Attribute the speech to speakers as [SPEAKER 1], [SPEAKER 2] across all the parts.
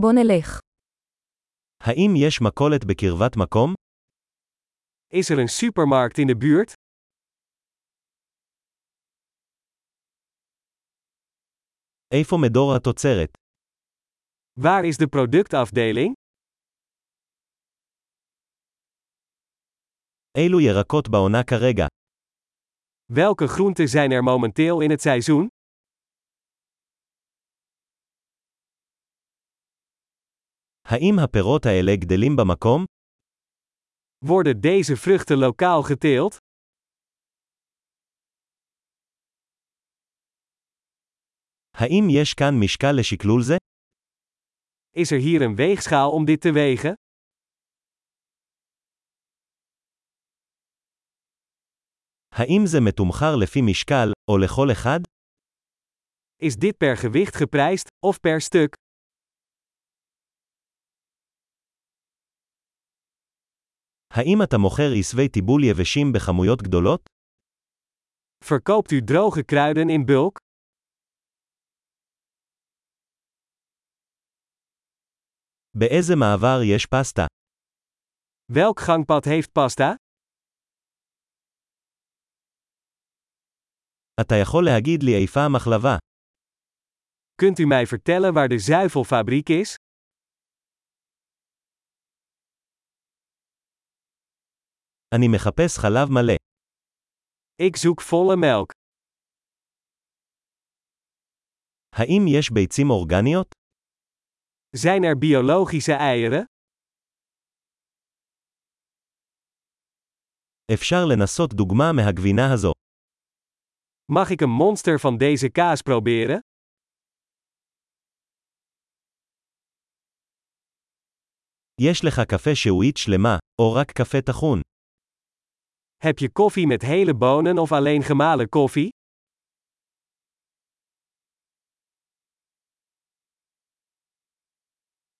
[SPEAKER 1] בוא נלך.
[SPEAKER 2] האם יש מכולת בקרבת מקום?
[SPEAKER 3] Is er een supermarkt in de buurt?
[SPEAKER 2] איפה מדור התוצרת?
[SPEAKER 3] Waar is de productafdeling?
[SPEAKER 2] אילו ירקות בעונה כרגע?
[SPEAKER 3] Welke groenten zijn er momenteel in het seizoen?
[SPEAKER 2] האם הפירות האלה גדלים במקום?
[SPEAKER 3] Worden deze vruchten lokaal geteeld?
[SPEAKER 2] האם יש כאן משקל לשקלול זה?
[SPEAKER 3] Is er hier een weegschaal om dit te wegen?
[SPEAKER 2] האם זה מתומחר לפי משקל, או לכל אחד?
[SPEAKER 3] Is dit per gewicht geprijsd of per stuk?
[SPEAKER 2] האם אתה מוכר עשבי טיבול יבשים בכמויות גדולות?
[SPEAKER 3] Verkoopt u droge kruiden in bulk?
[SPEAKER 2] באיזה מעבר יש פסטה?
[SPEAKER 3] Welk gangpad heeft pasta?
[SPEAKER 2] אתה יכול להגיד לי איפה המחלבה.
[SPEAKER 3] Kunt u mij vertellen waar de zuivelfabriek is?
[SPEAKER 2] אני מחפש חלב מלא.
[SPEAKER 3] Ik zoek volle melk.
[SPEAKER 2] האם יש ביצים אורגניות?
[SPEAKER 3] Zijn er biologische eieren?
[SPEAKER 2] אפשר לנסות דוגמה מהגבינה הזו.
[SPEAKER 3] Mag ik een monster van deze kaas proberen?
[SPEAKER 2] יש לך קפה שהועית שלמה, או רק קפה טחון.
[SPEAKER 3] Heb je koffie met hele bonen of alleen gemalen koffie?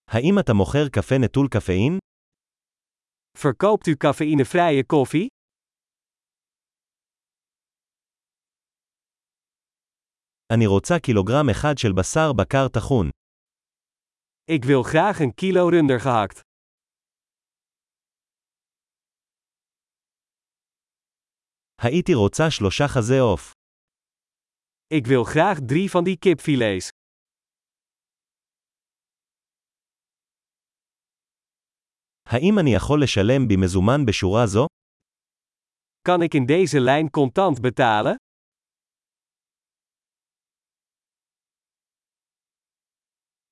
[SPEAKER 2] האם אתה מוכר קפה נטול קפאין?
[SPEAKER 3] Verkoopt u cafeïnevrije koffie?
[SPEAKER 2] אני רוצה קילוגרם אחד של בשר בקר טחון.
[SPEAKER 3] Ik wil graag een kilo runder gehakt.
[SPEAKER 2] הייתי רוצה שלושה חזה עוף.
[SPEAKER 3] Ik wil graag drie van die kipfilets.
[SPEAKER 2] האם אני יכול לשלם במזומן בשורה זו?
[SPEAKER 3] Kan ik in deze lijn contant betalen?